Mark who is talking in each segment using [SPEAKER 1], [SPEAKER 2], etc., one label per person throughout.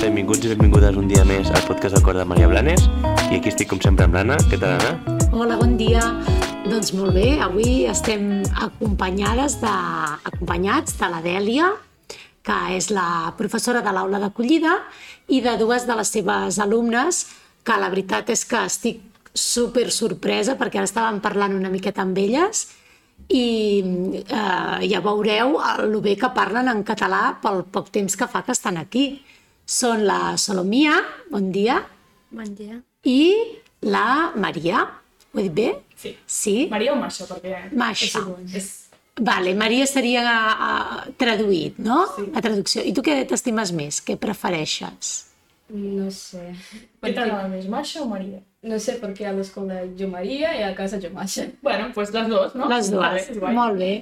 [SPEAKER 1] benvinguts i benvingudes un dia més al podcast del cor de Maria Blanes i aquí estic com sempre amb l'Anna. Què tal, Anna?
[SPEAKER 2] Hola, bon dia. Doncs molt bé, avui estem acompanyades de, acompanyats de la Dèlia, que és la professora de l'aula d'acollida, i de dues de les seves alumnes, que la veritat és que estic super sorpresa perquè ara estàvem parlant una miqueta amb elles i eh, ja veureu el, el bé que parlen en català pel poc temps que fa que estan aquí. Són la Solomia, bon dia,
[SPEAKER 3] Bon dia.
[SPEAKER 2] i la Maria. Ho he dit bé?
[SPEAKER 4] Sí.
[SPEAKER 2] Sí?
[SPEAKER 4] Maria o Masha, perquè...
[SPEAKER 2] Masha.
[SPEAKER 4] És, igual. és,
[SPEAKER 2] Vale, Maria seria uh, traduït, no?
[SPEAKER 4] Sí.
[SPEAKER 2] La traducció. I tu què t'estimes més? Què prefereixes?
[SPEAKER 3] No sé.
[SPEAKER 4] què
[SPEAKER 3] Perquè,
[SPEAKER 4] t'agrada més, Masha o Maria?
[SPEAKER 3] no sé perquè a l'escola jo Maria i a casa jo Masha.
[SPEAKER 4] Bueno, doncs pues les dues, no?
[SPEAKER 2] Les dues.
[SPEAKER 4] Vale, és guai.
[SPEAKER 2] Molt bé.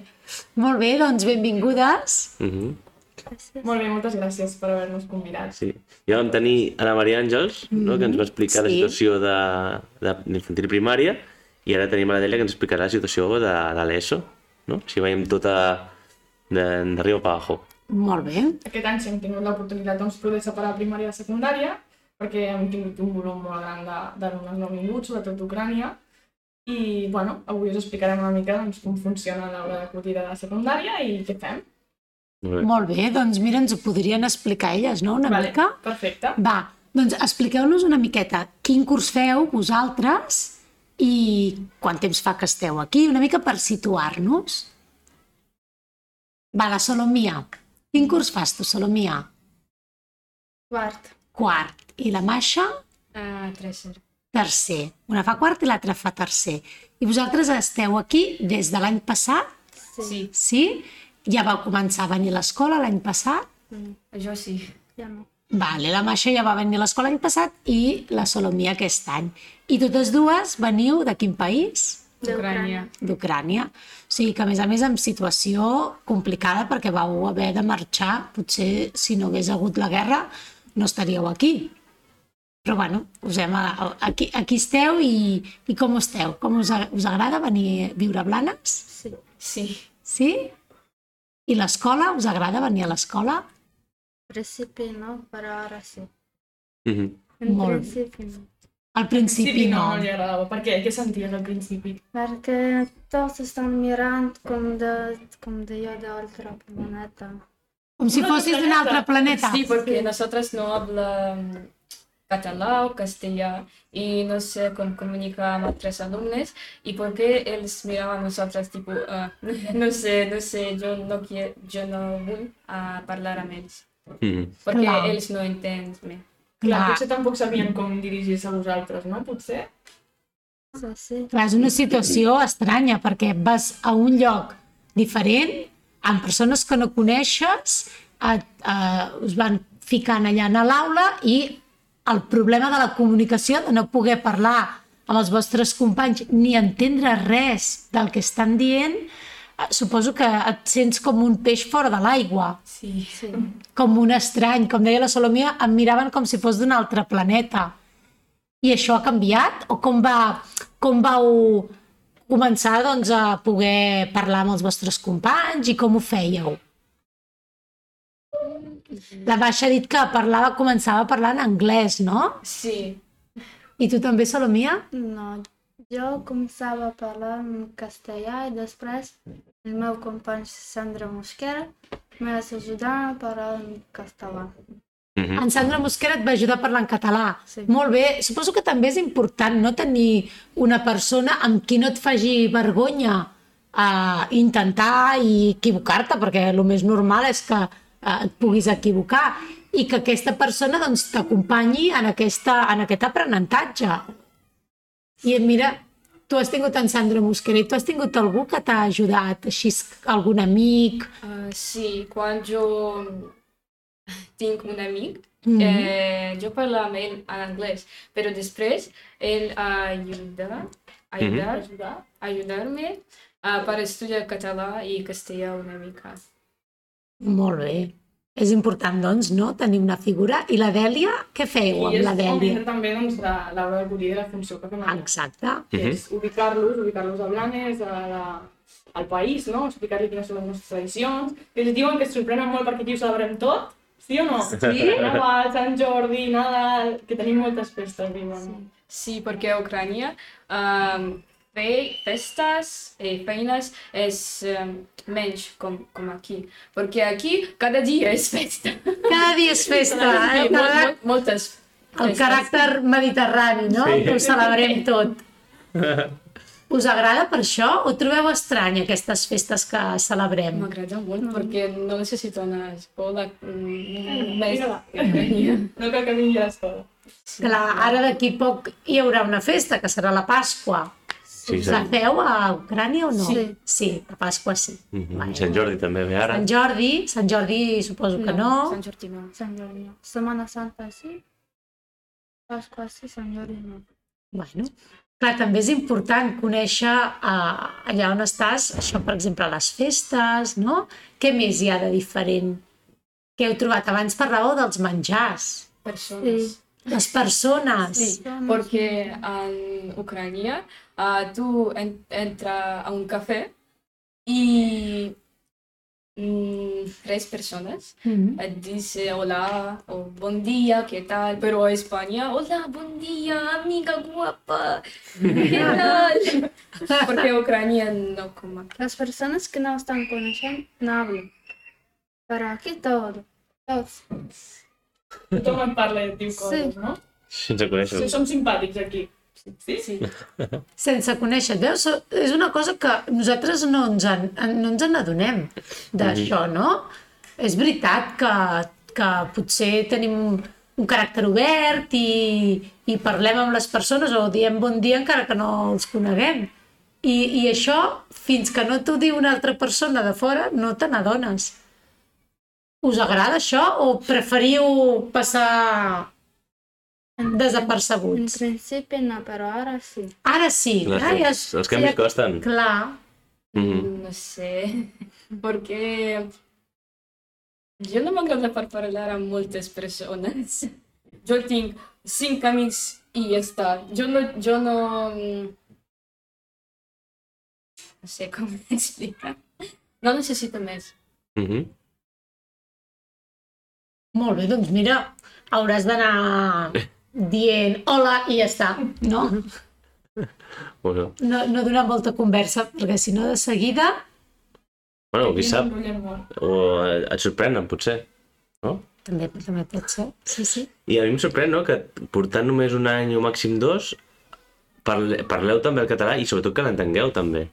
[SPEAKER 2] Molt bé, doncs benvingudes.
[SPEAKER 1] Uh -huh.
[SPEAKER 4] Molt bé, moltes gràcies per haver-nos convidat.
[SPEAKER 1] Sí. Ja vam tenir a la Maria Àngels, no? que ens va explicar la
[SPEAKER 2] sí.
[SPEAKER 1] situació de, de l'infantil primària, i ara tenim a la Delia que ens explicarà la situació de, de l'ESO. No? Així veiem tota de- d'arriba per abajo.
[SPEAKER 2] Molt bé.
[SPEAKER 4] Aquest any sí hem tingut l'oportunitat doncs, poder separar primària de secundària, perquè hem tingut un volum molt gran de- d'alumnes nouvinguts, sobretot d'Ucrània, i bueno, avui us explicarem una mica doncs, com funciona l'aula d'acollida de secundària i què fem.
[SPEAKER 1] Molt bé.
[SPEAKER 2] Molt bé, doncs mira, ens ho podrien explicar elles, no?, una mica.
[SPEAKER 4] Perfecte.
[SPEAKER 2] Va, doncs expliqueu-nos una miqueta quin curs feu vosaltres i quant temps fa que esteu aquí, una mica per situar-nos. Va, la Solomia. Quin curs fas tu, Solomia?
[SPEAKER 3] Quart.
[SPEAKER 2] Quart. I la Masha?
[SPEAKER 3] A tercer.
[SPEAKER 2] Tercer. Una fa quart i l'altra fa tercer. I vosaltres esteu aquí des de l'any passat,
[SPEAKER 3] Sí. sí.
[SPEAKER 2] sí? Ja vau començar a venir a l'escola l'any passat?
[SPEAKER 3] Jo sí.
[SPEAKER 2] Vale, la Masha ja va venir a l'escola l'any passat i la Solomia aquest any. I totes dues veniu de quin país?
[SPEAKER 3] D'Ucrània.
[SPEAKER 2] D'Ucrània. O sigui que, a més a més, amb situació complicada perquè vau haver de marxar. Potser, si no hagués hagut la guerra, no estaríeu aquí. Però, bueno, us hem, aquí, aquí esteu i, i com esteu? Com us, a- us agrada venir a viure a Blanes?
[SPEAKER 3] Sí. Sí.
[SPEAKER 2] Sí? I l'escola? Us agrada venir a l'escola?
[SPEAKER 5] En principi no, però ara sí.
[SPEAKER 1] Uh -huh.
[SPEAKER 5] En
[SPEAKER 2] Molt.
[SPEAKER 5] principi no.
[SPEAKER 2] Al principi
[SPEAKER 4] no,
[SPEAKER 2] no.
[SPEAKER 4] no li agradava. Per què? Què senties al principi?
[SPEAKER 5] Perquè tots estan mirant com de, com de jo d'altra planeta.
[SPEAKER 2] Com si
[SPEAKER 4] Un altre
[SPEAKER 2] fossis d'un altre planeta.
[SPEAKER 3] Sí, perquè nosaltres no hablam català o castellà i no sé com comunicar amb altres alumnes i per què els mirava a nosaltres, tipus, ah, no sé, no sé, jo no, quiero, jo no vull ah, parlar amb ells
[SPEAKER 1] Uh -huh.
[SPEAKER 3] perquè
[SPEAKER 2] Clar.
[SPEAKER 3] ells no entenen més.
[SPEAKER 4] Clar,
[SPEAKER 2] Clar.
[SPEAKER 4] potser tampoc sabien com dirigir-se a vosaltres, no? Potser?
[SPEAKER 5] Sí, sí.
[SPEAKER 2] Clar, és una situació estranya perquè vas a un lloc diferent, amb persones que no coneixes, et, eh, us van ficant allà a l'aula i el problema de la comunicació, de no poder parlar amb els vostres companys ni entendre res del que estan dient, eh, suposo que et sents com un peix fora de l'aigua,
[SPEAKER 3] Sí. sí.
[SPEAKER 2] com un estrany. Com deia la Solomia, em miraven com si fos d'un altre planeta. I això ha canviat? O com, va, com vau començar doncs, a poder parlar amb els vostres companys i com ho fèieu? La Baixa ha dit que parlava, començava parlant anglès, no?
[SPEAKER 3] Sí.
[SPEAKER 2] I tu també, Solomia?
[SPEAKER 5] No, jo començava a parlar en castellà i després el meu company Sandra Mosquera m'ha ajudat a parlar en castellà.
[SPEAKER 1] Uh -huh.
[SPEAKER 2] En Sandra Mosquera et va ajudar a parlar en català.
[SPEAKER 5] Sí.
[SPEAKER 2] Molt bé. Suposo que també és important no tenir una persona amb qui no et faci vergonya a intentar i equivocar-te, perquè el més normal és que eh, et puguis equivocar i que aquesta persona doncs, t'acompanyi en, aquesta, en aquest aprenentatge. I mira, tu has tingut en Sandra Mosquera i tu has tingut algú que t'ha ajudat, així algun amic...
[SPEAKER 3] Uh, sí, quan jo tinc un amic,
[SPEAKER 2] Mm
[SPEAKER 3] eh, jo parlava amb ell en anglès, però després ell ajuda, ajudar,
[SPEAKER 4] Ajudar?
[SPEAKER 3] ajudar-me uh, per estudiar català i castellà una mica.
[SPEAKER 2] Molt bé. És important, doncs, no?, tenir una figura. I la Dèlia, què feu amb
[SPEAKER 4] I és
[SPEAKER 2] la
[SPEAKER 4] com
[SPEAKER 2] Dèlia?
[SPEAKER 4] era també doncs, de l'hora d'acollida i la funció que fem aquí.
[SPEAKER 2] Exacte.
[SPEAKER 4] Que és ubicar-los, ubicar-los a Blanes, a la, al país, no? explicar-li quines són les nostres tradicions. I els diuen que es sorprenen molt perquè aquí ho celebrem tot, Sí o no?
[SPEAKER 1] Sí.
[SPEAKER 4] Nadal, Sant Jordi, Nadal... Que tenim moltes festes, diuen.
[SPEAKER 3] Sí, porque Ucrania um, fe, festas y feinas es um, mensch, com, com aquí. Porque aquí cada dia és festa.
[SPEAKER 2] Cada dia és festa, eh?
[SPEAKER 3] Sí,
[SPEAKER 2] El,
[SPEAKER 3] molt,
[SPEAKER 2] carà-
[SPEAKER 3] molt, moltes
[SPEAKER 2] el caràcter mediterrani, no?
[SPEAKER 1] Sí.
[SPEAKER 2] Que ho celebrem tot. Us agrada per això o trobeu estrany aquestes festes que celebrem?
[SPEAKER 3] M'agrada molt perquè no necessito anar a escola mm, més.
[SPEAKER 4] Vinga, va. No cal que vingui a l'escola.
[SPEAKER 2] Clar, ara d'aquí poc hi haurà una festa, que serà la Pasqua.
[SPEAKER 1] Sí,
[SPEAKER 2] Us la
[SPEAKER 1] Sant,
[SPEAKER 2] feu a Ucrània o no?
[SPEAKER 5] Sí.
[SPEAKER 2] Sí, la Pasqua sí.
[SPEAKER 1] Mhm, Sant Jordi també ve ara.
[SPEAKER 2] Sant Jordi, Sant Jordi suposo que no.
[SPEAKER 3] Sant Jordi no.
[SPEAKER 5] Sant Jordi no. Setmana Santa sí. Pasqua sí, Sant Jordi no.
[SPEAKER 2] Bueno, clar, també és important conèixer eh, allà on estàs, això, per exemple, les festes, no? Què més hi ha de diferent? Què heu trobat? Abans parlàveu dels menjars,
[SPEAKER 3] Persones.
[SPEAKER 5] Sí.
[SPEAKER 2] les persones.
[SPEAKER 3] Sí, porque en Ucrania ah, tú en- entras a un café y mm, tres personas
[SPEAKER 2] Mhm.
[SPEAKER 3] eh, dice hola o buen día, ¿qué tal? Pero a España, hola, buen día, amiga guapa, ¿qué tal? Porque Ucrania no como aquí.
[SPEAKER 5] Las personas que no están conociendo no hablan. Pero aquí todo. Todos.
[SPEAKER 4] Tothom et parla i et diu coses, no?
[SPEAKER 1] Sense
[SPEAKER 4] Sí,
[SPEAKER 1] conèixer-ho.
[SPEAKER 4] som simpàtics aquí. Sí?
[SPEAKER 3] Sí,
[SPEAKER 2] Sense conèixer, veus? So- És una cosa que nosaltres no ens, en, en- no ens n'adonem d'això, no? És veritat que, que potser tenim un, un caràcter obert i, i parlem amb les persones o diem bon dia encara que no els coneguem. I, i això, fins que no t'ho diu una altra persona de fora, no te n'adones. Us agrada això o preferiu passar
[SPEAKER 5] En
[SPEAKER 2] desapercebuts?
[SPEAKER 5] principio no, pero ahora sí.
[SPEAKER 2] Ara sí,
[SPEAKER 1] Les-
[SPEAKER 2] ara ja...
[SPEAKER 1] Els canvis costen.
[SPEAKER 2] Clar,
[SPEAKER 1] Mhm.
[SPEAKER 3] no sé, porque yo no me agrada para hablar a muchas personas. Yo tengo cinco amigos y ya está. Yo no, yo no, mm, no sé cómo explicar. No necesito más.
[SPEAKER 1] Mhm.
[SPEAKER 2] molt bé, doncs mira, hauràs d'anar dient hola i ja està, Mhm. no?
[SPEAKER 1] Bueno,
[SPEAKER 2] No, no donar molta conversa, perquè si no de seguida...
[SPEAKER 1] bueno, qui
[SPEAKER 4] Ens
[SPEAKER 1] sap,
[SPEAKER 4] enrotllem molt.
[SPEAKER 1] o eh, et sorprenen, potser.
[SPEAKER 2] També, també pot ser, sí, sí.
[SPEAKER 1] I a mi em sorprèn, no?, que portant només un any o màxim dos, parle, parleu també el català i sobretot que l'entengueu també.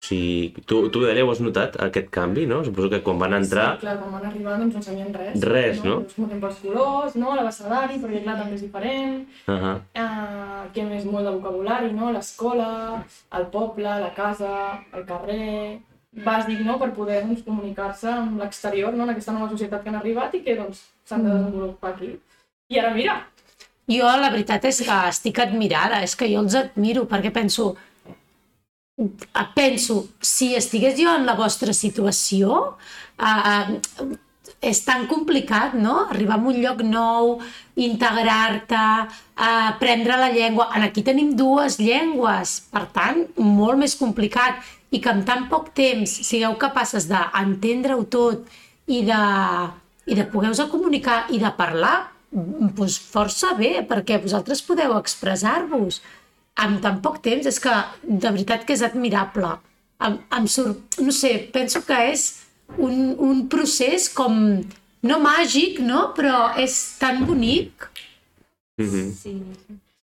[SPEAKER 1] O sigui, tu, tu Delia, ho has notat, aquest canvi, no? Suposo que quan van entrar...
[SPEAKER 4] Sí, clar, quan van arribar doncs no sabien res.
[SPEAKER 1] Res, no?
[SPEAKER 4] Ens motem pels colors, no? L'abecedari, perquè clar, també és diferent.
[SPEAKER 1] Sí. Uh -huh.
[SPEAKER 4] Uh, que més molt de vocabulari, no? L'escola, el poble, la casa, el carrer... Bàsic, no?, per poder doncs, comunicar-se amb l'exterior, no?, en aquesta nova societat que han arribat i que, doncs, s'han de desenvolupar aquí. I ara, mira,
[SPEAKER 2] Jo, la veritat és que estic admirada, és que jo els admiro, perquè penso... eh, Penso, si estigués jo en la vostra situació, eh, eh, és tan complicat, no?, arribar a un lloc nou, integrar-te, eh, aprendre la llengua. En aquí tenim dues llengües, per tant, molt més complicat. I que en tan poc temps sigueu capaces d'entendre-ho tot i de, i de poder-vos comunicar i de parlar, mm, doncs força bé, perquè vosaltres podeu expressar-vos amb tan poc temps. És que, de veritat, que és admirable. Em, em sor... No sé, penso que és un, un procés com... No màgic, no? Però és tan bonic.
[SPEAKER 1] Mhm.
[SPEAKER 3] Sí.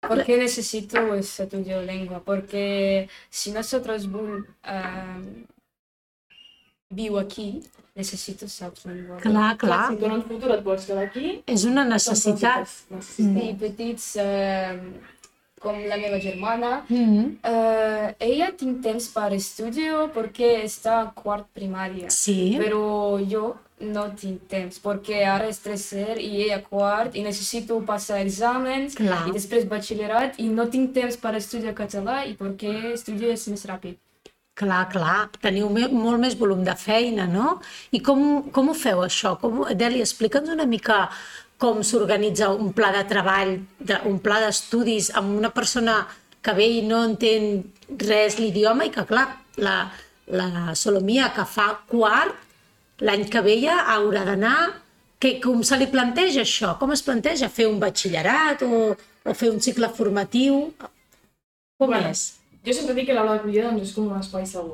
[SPEAKER 3] Porque necesito esa tuya lengua. Porque si nosotros vol- ah, vivo aquí, necesito esa lengua.
[SPEAKER 2] Clar, clar.
[SPEAKER 4] si tu en el futur et vols quedar aquí...
[SPEAKER 2] És una
[SPEAKER 4] doncs
[SPEAKER 2] necessitat.
[SPEAKER 4] necessites-
[SPEAKER 2] Mm.
[SPEAKER 4] necessites-
[SPEAKER 3] i petits eh, com la meva germana.
[SPEAKER 2] Mm.
[SPEAKER 3] Eh, ella té temps per estudi perquè està a quart primària,
[SPEAKER 2] Sí.
[SPEAKER 3] però jo no tinc temps perquè ara és tercer i ella quart i necessito passar exàmens
[SPEAKER 2] Clar.
[SPEAKER 3] i després batxillerat i no tinc temps per estudiar català i perquè estudio és més ràpid.
[SPEAKER 2] Clar, clar, teniu me- molt més volum de feina, no? I com, com ho feu, això? Com, Deli, explica'ns una mica com s'organitza un pla de treball, de, un pla d'estudis amb una persona que ve i no entén res l'idioma i que, clar, la, la Solomia, que fa quart, l'any que ve ja haurà d'anar que, com se li planteja això? Com es planteja fer un batxillerat o, o fer un cicle formatiu? Com
[SPEAKER 4] Bueno,
[SPEAKER 2] és?
[SPEAKER 4] Jo sempre dic que l'aula d'acollida doncs, és com un espai segur,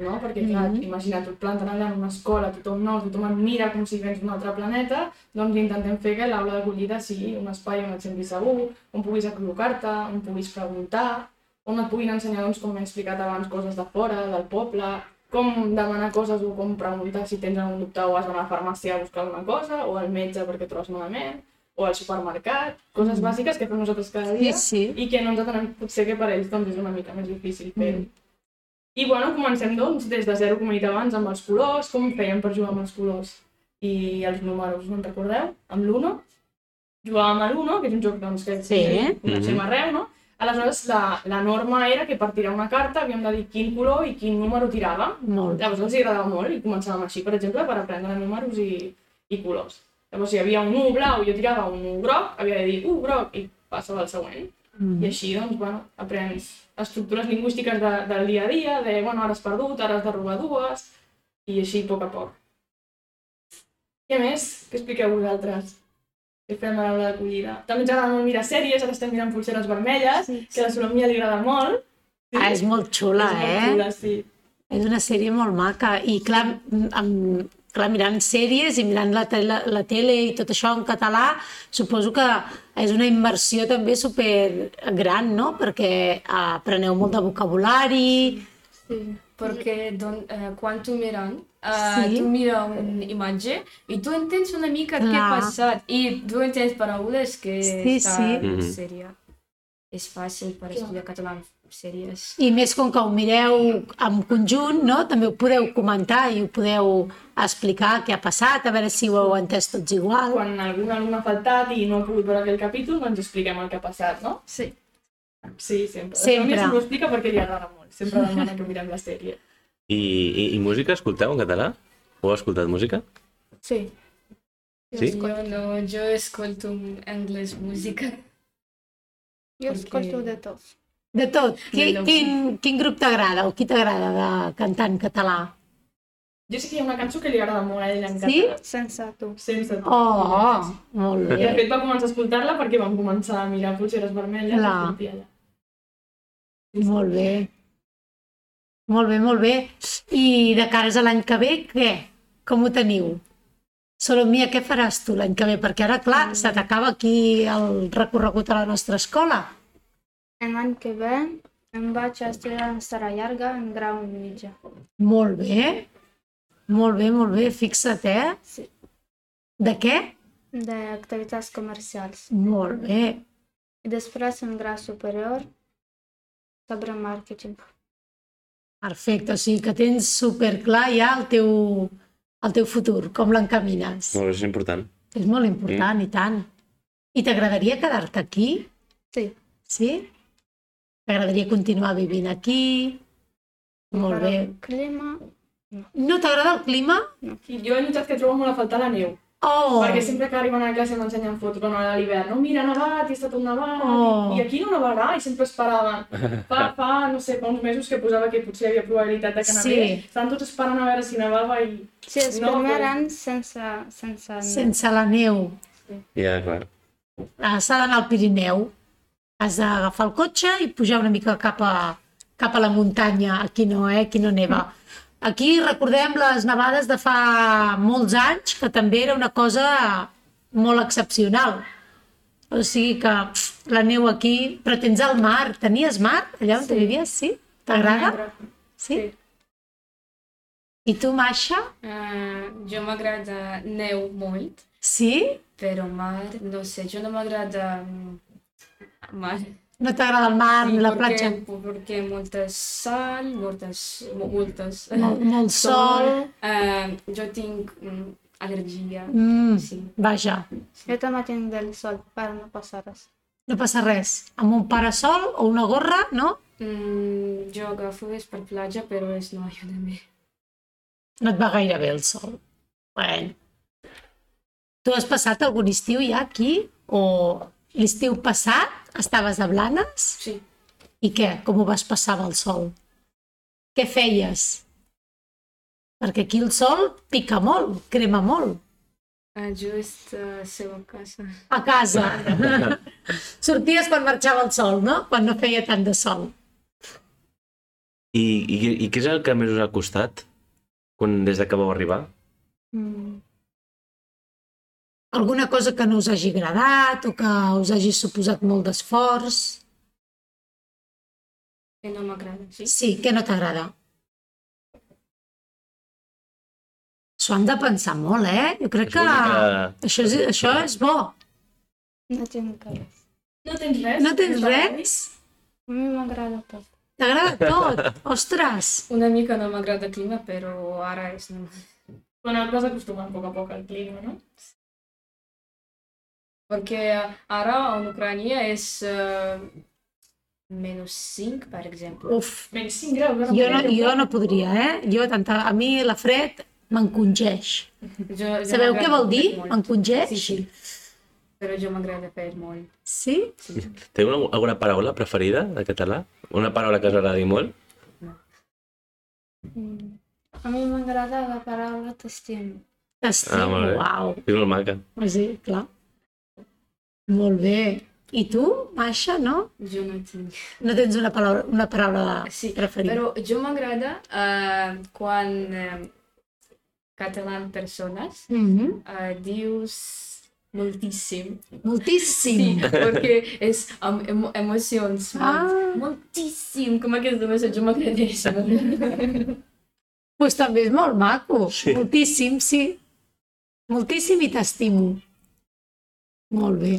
[SPEAKER 4] no? Perquè, clar, mm -hmm. imagina't, tu et planten allà en una escola, tothom nou, tothom et mira com si vens d'un altre planeta, doncs intentem fer que l'aula d'acollida sigui un espai on et sentis segur, on puguis col·locar-te, on puguis preguntar, on et puguin ensenyar, doncs, com he explicat abans, coses de fora, del poble, com demanar coses o com preguntar si tens algun dubte o has d'anar a la farmàcia a buscar alguna cosa, o al metge perquè trobes malament, o al supermercat, coses bàsiques que fem nosaltres cada dia
[SPEAKER 2] sí.
[SPEAKER 4] i que no ens atenem, potser que per ells doncs, és una mica més difícil fer-ho.
[SPEAKER 2] Mm.
[SPEAKER 4] I bueno, comencem doncs des de zero, com he dit abans, amb els colors, com fèiem per jugar amb els colors i els números, no en recordeu? Amb l'Uno. Jugàvem a l'Uno, que és un joc doncs, que
[SPEAKER 2] Sí. Mm-hmm.
[SPEAKER 4] coneixem
[SPEAKER 1] Mhm.
[SPEAKER 4] arreu, no? Aleshores, la, la norma era que per tirar una carta havíem de dir quin color i quin número tiràvem
[SPEAKER 2] Molt.
[SPEAKER 4] Llavors els hi agradava molt i començàvem així, per exemple, per aprendre números i, i colors. Llavors hi havia un 1 blau, jo tirava un 1 groc, havia de dir 1 groc i passava al següent. I
[SPEAKER 2] Mm.
[SPEAKER 4] així, doncs, bueno, aprens estructures lingüístiques de, del dia a dia, de, bueno, ara has perdut, ara has de robar dues, i així a poc a poc. I a més, què expliqueu vosaltres? Què fem a l'aula d'acollida? També ens agrada molt mirar sèries, ara estem mirant Pulseres Vermelles,
[SPEAKER 5] Sí,
[SPEAKER 4] que a la Solomia li agrada molt.
[SPEAKER 2] Ah, és molt xula,
[SPEAKER 4] És molt
[SPEAKER 2] eh?
[SPEAKER 4] xula, sí.
[SPEAKER 2] És una sèrie molt maca i clar, m- amb, clar mirant sèries i mirant la, tele, la tele i tot això en català, suposo que és una immersió també super gran, no? Perquè eh, apreneu molt de vocabulari,
[SPEAKER 5] sí.
[SPEAKER 3] Porque don, eh, quan tu mirant, eh,
[SPEAKER 2] Sí.
[SPEAKER 3] tu mira una imatge i tu entens una mica què ha
[SPEAKER 2] Clar.
[SPEAKER 3] passat i tu entens paraules que
[SPEAKER 2] Sí,
[SPEAKER 3] està
[SPEAKER 2] sí.
[SPEAKER 1] Mhm.
[SPEAKER 3] seria. És fàcil per estudiar català en sèries.
[SPEAKER 2] i més com que ho mireu en conjunt, no? També ho podeu comentar i ho podeu explicar què ha passat, a veure si ho heu entès tots igual.
[SPEAKER 4] quan algun alumne ha faltat i no ha pogut veure aquell capítol, doncs expliquem el que ha passat, no?
[SPEAKER 5] Sí.
[SPEAKER 4] Sí, sempre.
[SPEAKER 2] Sempre.
[SPEAKER 4] La Sònia sempre ho explica perquè li agrada molt. Sempre demana que mirem la sèrie.
[SPEAKER 1] I, i, I música escolteu en català? Ho heu escoltat música?
[SPEAKER 5] Sí.
[SPEAKER 1] Sí?
[SPEAKER 3] Jo no, jo escolto anglès música.
[SPEAKER 5] Jo
[SPEAKER 3] Perquè-
[SPEAKER 5] escolto de tot.
[SPEAKER 2] De tot, qui,
[SPEAKER 3] Del-
[SPEAKER 2] quin, quin grup t'agrada o qui t'agrada de cantar en català?
[SPEAKER 4] Jo sé que hi ha una cançó que li agrada molt a ell en
[SPEAKER 2] Sí?
[SPEAKER 4] català.
[SPEAKER 5] Sense tu.
[SPEAKER 4] Sense tu.
[SPEAKER 2] Oh, molt
[SPEAKER 4] I de
[SPEAKER 2] bé.
[SPEAKER 4] fet va començar a escoltar-la perquè vam començar a mirar Pulseres Vermelles
[SPEAKER 2] Clar.
[SPEAKER 4] i sentia allà.
[SPEAKER 2] Molt bé. Molt bé, molt bé. I de cares a l'any que ve, què? Com ho teniu? Solomia, què faràs tu l'any que ve? Perquè ara, clar, se t'acaba aquí el recorregut a la nostra escola.
[SPEAKER 5] L'any que ve em vaig a estudiar en Sara Llarga en grau i mitja.
[SPEAKER 2] Molt bé. Molt bé, molt bé. Fixa't, eh?
[SPEAKER 5] Sí.
[SPEAKER 2] De què?
[SPEAKER 5] D'activitats comercials.
[SPEAKER 2] Molt bé.
[SPEAKER 5] I després en grau superior sobre màrqueting.
[SPEAKER 2] Perfecte. O sigui que tens superclar ja el teu, el teu futur, com l'encamines.
[SPEAKER 1] Molt bé, és important.
[SPEAKER 2] És molt important, i tant. I t'agradaria quedar-te aquí?
[SPEAKER 5] Sí.
[SPEAKER 2] Sí? T'agradaria continuar vivint aquí? Molt
[SPEAKER 5] Però
[SPEAKER 2] bé.
[SPEAKER 5] el clima,
[SPEAKER 2] No t'agrada el clima?
[SPEAKER 4] I jo he notat que trobo molt a faltar la neu.
[SPEAKER 2] Oh!
[SPEAKER 4] Perquè sempre que arriben a classe m'ensenyen fotos, bueno, ara a l'hivern, no? Mira, ha nevat, i ha estat un nevat,
[SPEAKER 2] Oh.
[SPEAKER 4] i, i aquí no nevarà, i sempre esperaven. Fa, fa, no sé, fa uns mesos que posava que potser hi havia probabilitat de que
[SPEAKER 2] Sí.
[SPEAKER 4] nevés, estaven tots esperant a veure si nevava i...
[SPEAKER 5] sí, és
[SPEAKER 4] No,
[SPEAKER 5] no, primer
[SPEAKER 4] però-
[SPEAKER 5] any sense, sense,
[SPEAKER 2] Sense la neu.
[SPEAKER 1] Ja, clar.
[SPEAKER 2] Ah, S'ha d'anar al Pirineu. Has d'agafar el cotxe i pujar una mica cap a, cap a la muntanya. Aquí no, eh? Aquí no neva. Aquí recordem les nevades de fa molts anys, que també era una cosa molt excepcional. O sigui que pf, la neu aquí... Però tens el mar. Tenies mar allà on sí. vivies? Sí? T'agrada?
[SPEAKER 5] negre.
[SPEAKER 2] Sí? I tu, Masha?
[SPEAKER 3] Eh, jo m'agrada neu molt,
[SPEAKER 2] Sí?
[SPEAKER 3] però mar, no sé, jo no m'agrada mm, mar.
[SPEAKER 2] No t'agrada el mar,
[SPEAKER 3] Sí,
[SPEAKER 2] la
[SPEAKER 3] perquè-
[SPEAKER 2] platja?
[SPEAKER 3] Perquè molta sal, moltes, moltes...
[SPEAKER 2] Molt, molt sol.
[SPEAKER 3] Eh, jo tinc mm, al·lèrgia.
[SPEAKER 2] Mm,
[SPEAKER 3] Sí.
[SPEAKER 2] vaja.
[SPEAKER 5] Jo també tinc del sol, però no passa res.
[SPEAKER 2] No passa res. Amb un parasol o una gorra, no?
[SPEAKER 3] Mm, jo agafo és per platja, però és no ajuda bé.
[SPEAKER 2] No et va gaire bé el sol. Bueno. Tu has passat algun estiu ja aquí? O l'estiu passat estaves a Blanes?
[SPEAKER 3] Sí.
[SPEAKER 2] I què? Com ho vas passar amb el sol? Què feies? Perquè aquí el sol pica molt, crema molt.
[SPEAKER 3] Ah, just a seva casa.
[SPEAKER 2] A casa. Sorties quan marxava el sol, no? Quan no feia tant de sol.
[SPEAKER 1] I, i, I què és el que més us ha costat quan, des de que vau arribar?
[SPEAKER 5] Mm,
[SPEAKER 2] Alguna cosa que no us hagi agradat o que us hagi suposat molt d'esforç.
[SPEAKER 3] Que no m'agrada, sí?
[SPEAKER 2] Sí, que no t'agrada. S'ho han de pensar molt, eh? Jo crec
[SPEAKER 1] És
[SPEAKER 2] que,
[SPEAKER 1] una
[SPEAKER 2] això, és, això és bo.
[SPEAKER 5] no tinc res.
[SPEAKER 4] No tens res?
[SPEAKER 2] No tens res?
[SPEAKER 5] A mi m'agrada tot.
[SPEAKER 2] T'agrada tot? Ostres!
[SPEAKER 3] Una mica no m'agrada el clima, però ara és normal.
[SPEAKER 4] Bueno, et vas acostumant a poc a poc al clima, no?
[SPEAKER 3] Perquè ara en Ucrania és eh, menys 5, per exemple.
[SPEAKER 2] Uf!
[SPEAKER 4] Menys 5 graus. ara
[SPEAKER 2] Jo no,
[SPEAKER 4] mateix.
[SPEAKER 2] jo no podria, eh? Jo tanta... A mi la fred m'encongeix.
[SPEAKER 3] Jo, jo
[SPEAKER 2] Sabeu
[SPEAKER 3] m'agrada
[SPEAKER 2] què vol dir?
[SPEAKER 3] molt.
[SPEAKER 2] M'encongeix?
[SPEAKER 3] Sí, sí. Però jo m'agrada fer molt.
[SPEAKER 2] Sí?
[SPEAKER 1] Teniu una, alguna paraula preferida de català? Una paraula que us agradi molt?
[SPEAKER 5] Mm. A mi m'agrada la paraula t'estimo.
[SPEAKER 1] Ah,
[SPEAKER 2] T'estimo,
[SPEAKER 1] molt bé.
[SPEAKER 2] uau.
[SPEAKER 1] És molt maca.
[SPEAKER 2] Sí, clar. Molt bé. I tu, Masha, no?
[SPEAKER 3] Jo no tinc.
[SPEAKER 2] No tens una paraula, una paraula
[SPEAKER 3] Sí,
[SPEAKER 2] preferida?
[SPEAKER 3] però jo m'agrada eh, quan eh, catalan persones
[SPEAKER 2] Mhm.
[SPEAKER 3] eh, dius moltíssim.
[SPEAKER 2] Moltíssim.
[SPEAKER 3] Sí, perquè és amb emo emocions.
[SPEAKER 2] Ah,
[SPEAKER 3] Molt, moltíssim, com aquest només jo m'agradeix. molt.
[SPEAKER 2] doncs també és molt maco. Sí. Moltíssim, sí. Moltíssim i t'estimo. Molt bé.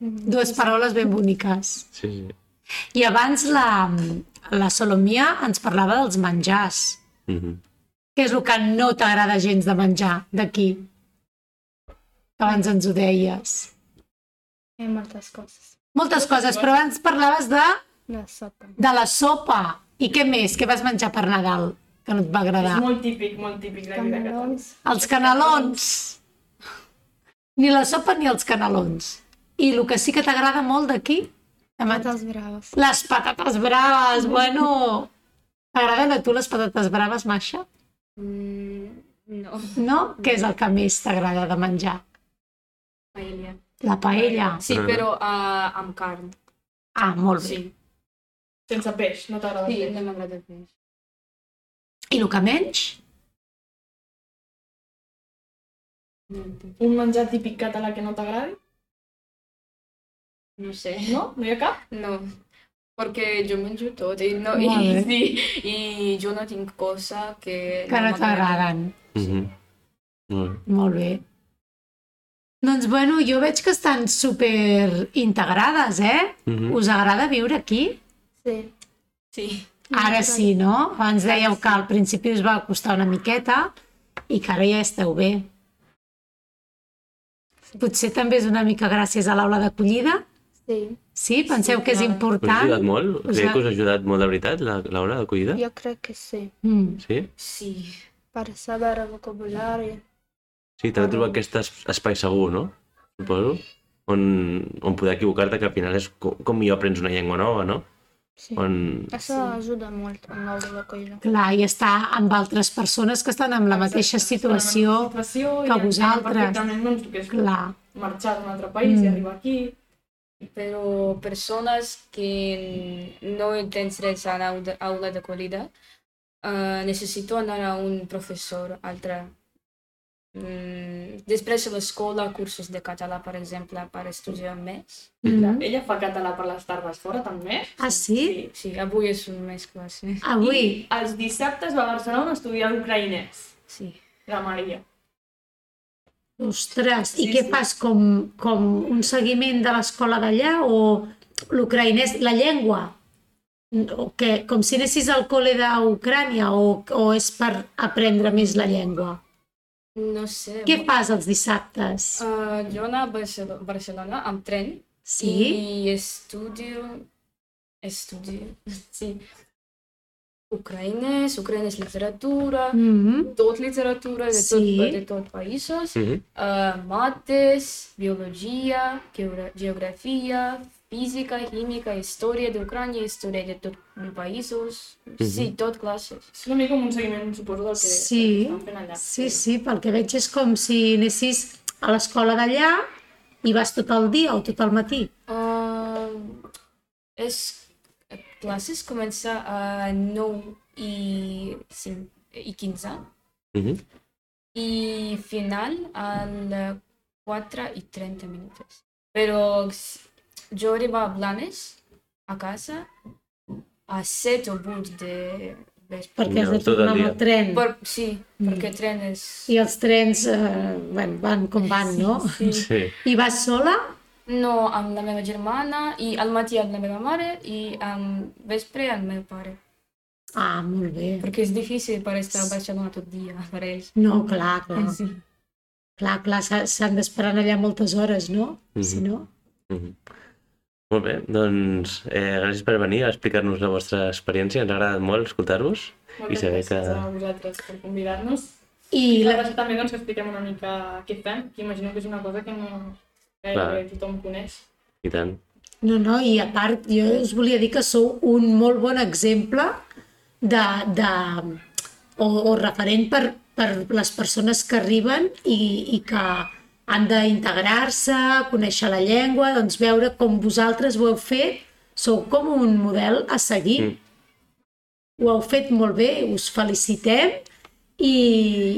[SPEAKER 2] Dues paraules ben boniques.
[SPEAKER 1] Sí, sí.
[SPEAKER 2] I abans la, la Solomia ens parlava dels menjars.
[SPEAKER 1] Mm -hmm.
[SPEAKER 2] Què és el que no t'agrada gens de menjar d'aquí? Que Abans ens ho deies.
[SPEAKER 5] Hi ha moltes coses.
[SPEAKER 2] Moltes coses, però abans parlaves de,
[SPEAKER 5] De sota.
[SPEAKER 2] de la sopa. I què més? Què vas menjar per Nadal que no et va agradar?
[SPEAKER 4] És molt típic, molt típic d'aquí de Catalunya.
[SPEAKER 5] Camarons.
[SPEAKER 2] Els canelons. Ni la sopa ni els canelons. I el que sí que t'agrada molt d'aquí? de men-
[SPEAKER 5] Patates braves.
[SPEAKER 2] Les patates braves, bueno. T'agraden a tu les patates braves, Masha?
[SPEAKER 3] Mm, no,
[SPEAKER 2] No? Què és el que més t'agrada de menjar?
[SPEAKER 3] paella.
[SPEAKER 2] La paella.
[SPEAKER 3] Sí, però uh, amb carn.
[SPEAKER 2] Ah, molt bé.
[SPEAKER 3] Sí,
[SPEAKER 4] Sense peix, no t'agrada
[SPEAKER 3] sí
[SPEAKER 4] el peix.
[SPEAKER 3] no m'agrada peix.
[SPEAKER 2] I el que menys?
[SPEAKER 3] No, entenc.
[SPEAKER 4] Un menjar típic català que no t'agradi?
[SPEAKER 3] no sé.
[SPEAKER 4] No? No hi ha cap?
[SPEAKER 3] No,
[SPEAKER 2] Mm.
[SPEAKER 3] perquè jo menjo tot i, no, i,
[SPEAKER 2] Molt
[SPEAKER 3] i, i jo no tinc cosa que...
[SPEAKER 2] Que no
[SPEAKER 3] m'agrada.
[SPEAKER 2] t'agraden.
[SPEAKER 1] Mm -hmm. Molt bé.
[SPEAKER 2] Molt bé. Doncs bueno, jo veig que estan super integrades, eh?
[SPEAKER 1] Mm -hmm.
[SPEAKER 2] Us agrada viure aquí?
[SPEAKER 5] Sí.
[SPEAKER 3] Sí,
[SPEAKER 2] Ara Ah, sí, no? Abans dèieu que al principi us va costar una miqueta i que ara ja esteu bé. Potser també és una mica gràcies a l'aula d'acollida.
[SPEAKER 5] Sí.
[SPEAKER 2] Sí? Penseu que és
[SPEAKER 1] Us
[SPEAKER 3] clar.
[SPEAKER 1] ha ajudat
[SPEAKER 2] important?
[SPEAKER 1] molt?
[SPEAKER 2] us
[SPEAKER 1] Crec
[SPEAKER 2] ha-
[SPEAKER 1] que us ha ajudat molt, de veritat, la- l'hora d'acollida?
[SPEAKER 5] Jo crec que sí.
[SPEAKER 2] Mm.
[SPEAKER 1] Sí?
[SPEAKER 3] sí.
[SPEAKER 5] Per saber el vocabulari.
[SPEAKER 1] Sí, t'has de trobar aquest es- espai segur, no? Suposo. On, on poder equivocar-te, que al final és com, com jo aprens una llengua nova, no?
[SPEAKER 5] Sí.
[SPEAKER 1] On...
[SPEAKER 5] Això ajuda molt amb l'aula de colla.
[SPEAKER 2] Clar, i estar amb altres persones que estan en la mateixa situació.
[SPEAKER 4] situació
[SPEAKER 2] que
[SPEAKER 4] i entenem
[SPEAKER 2] vosaltres.
[SPEAKER 4] Perfectament, doncs, el que és
[SPEAKER 2] Clar,
[SPEAKER 4] marxar d'un altre país
[SPEAKER 2] Mm.
[SPEAKER 4] i arribar aquí.
[SPEAKER 3] Però persones que no tens res a l'aula aula d'acollida uh, necessito anar a un professor, altre. Mm, després a l'escola, cursos de català, per exemple, per estudiar més.
[SPEAKER 2] Mm.
[SPEAKER 4] Ella fa català per les tardes fora, també.
[SPEAKER 2] Ah, sí?
[SPEAKER 3] Sí, avui és un més classe.
[SPEAKER 2] Avui?
[SPEAKER 4] I els dissabtes va a Barcelona a estudiar ucraïnès.
[SPEAKER 3] Sí.
[SPEAKER 4] La Maria.
[SPEAKER 2] Ostres, i
[SPEAKER 4] Sí,
[SPEAKER 2] què
[SPEAKER 4] sí.
[SPEAKER 2] fas? Com, com un seguiment de l'escola d'allà o l'ucraïnès, la llengua? O que, com si anessis al col·le d'Ucrània o, o és per aprendre més la llengua?
[SPEAKER 3] No sé.
[SPEAKER 2] Què fas els dissabtes?
[SPEAKER 3] Uh, jo anava a Barcelo- Barcelona amb tren
[SPEAKER 2] Sí?
[SPEAKER 3] i estudio, estudio, sí, ucraïnès, ucraïnès literatura,
[SPEAKER 2] Mhm.
[SPEAKER 3] tot literatura de,
[SPEAKER 2] Sí.
[SPEAKER 3] tot, de tot països,
[SPEAKER 1] Mhm.
[SPEAKER 3] uh, mates, biologia, geogra- geografia, física, química, història d'Ucrània, història de tot països, sí, tot classes.
[SPEAKER 4] És una mica com un seguiment, suposo, del que
[SPEAKER 2] Sí.
[SPEAKER 4] estan fent allà.
[SPEAKER 2] Sí, sí, pel que veig és com si anessis a l'escola d'allà i vas tot el dia o tot el matí?
[SPEAKER 3] Um, es classes comença a 9 i, 5, i 15
[SPEAKER 1] Mhm.
[SPEAKER 3] i final al 4 y 30 minutos. Pero s- yo arriba a Blanes, a casa, a 7 o 8 de vespre.
[SPEAKER 2] Perquè has
[SPEAKER 1] No,
[SPEAKER 2] de
[SPEAKER 1] tot el
[SPEAKER 2] tornar amb
[SPEAKER 1] dia.
[SPEAKER 2] el tren. Mm.
[SPEAKER 3] Por, sí, porque trenes...
[SPEAKER 2] I els trens eh, bueno, van com van, no?
[SPEAKER 3] Sí.
[SPEAKER 1] Sí.
[SPEAKER 2] I vas sola?
[SPEAKER 3] No, amb la meva germana, i al matí amb la meva mare, i al vespre al meu pare.
[SPEAKER 2] Ah, molt bé.
[SPEAKER 3] Perquè és difícil per estar a Barcelona tot dia, per ells.
[SPEAKER 2] No, clar, clar.
[SPEAKER 3] Sí.
[SPEAKER 2] Clar, clar, s'ha- s'han d'esperar allà moltes hores, no? Si no...
[SPEAKER 1] Mhm. Molt bé, doncs eh, gràcies per venir a explicar-nos la vostra experiència. Ens ha agradat molt escoltar-vos. I
[SPEAKER 4] Moltes
[SPEAKER 1] saber
[SPEAKER 4] gràcies
[SPEAKER 1] que-
[SPEAKER 4] a vosaltres per convidar-nos.
[SPEAKER 2] I
[SPEAKER 4] I la
[SPEAKER 2] la...
[SPEAKER 4] cosa també doncs, que expliquem una mica què fem, que imagino que és una cosa que no
[SPEAKER 1] Clar.
[SPEAKER 4] gairebé tothom coneix.
[SPEAKER 1] I tant.
[SPEAKER 2] No, no, i a part, jo us volia dir que sou un molt bon exemple de... de o, o referent per, per les persones que arriben i, i que han d'integrar-se, conèixer la llengua, doncs veure com vosaltres ho heu fet, sou com un model a seguir.
[SPEAKER 1] Mm.
[SPEAKER 2] Ho heu fet molt bé, us felicitem i,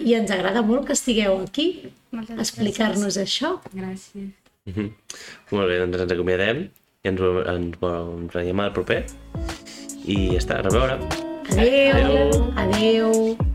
[SPEAKER 2] i ens agrada molt que estigueu aquí a
[SPEAKER 5] Moltes
[SPEAKER 2] explicar-nos això.
[SPEAKER 3] Gràcies.
[SPEAKER 1] Mhm. Molt bé, doncs ens acomiadem i ens, veu- ens, veu- doncs, ens veiem al proper. I ja està, a reveure.
[SPEAKER 2] Adeu,
[SPEAKER 1] Adeu.
[SPEAKER 2] adeu. adeu.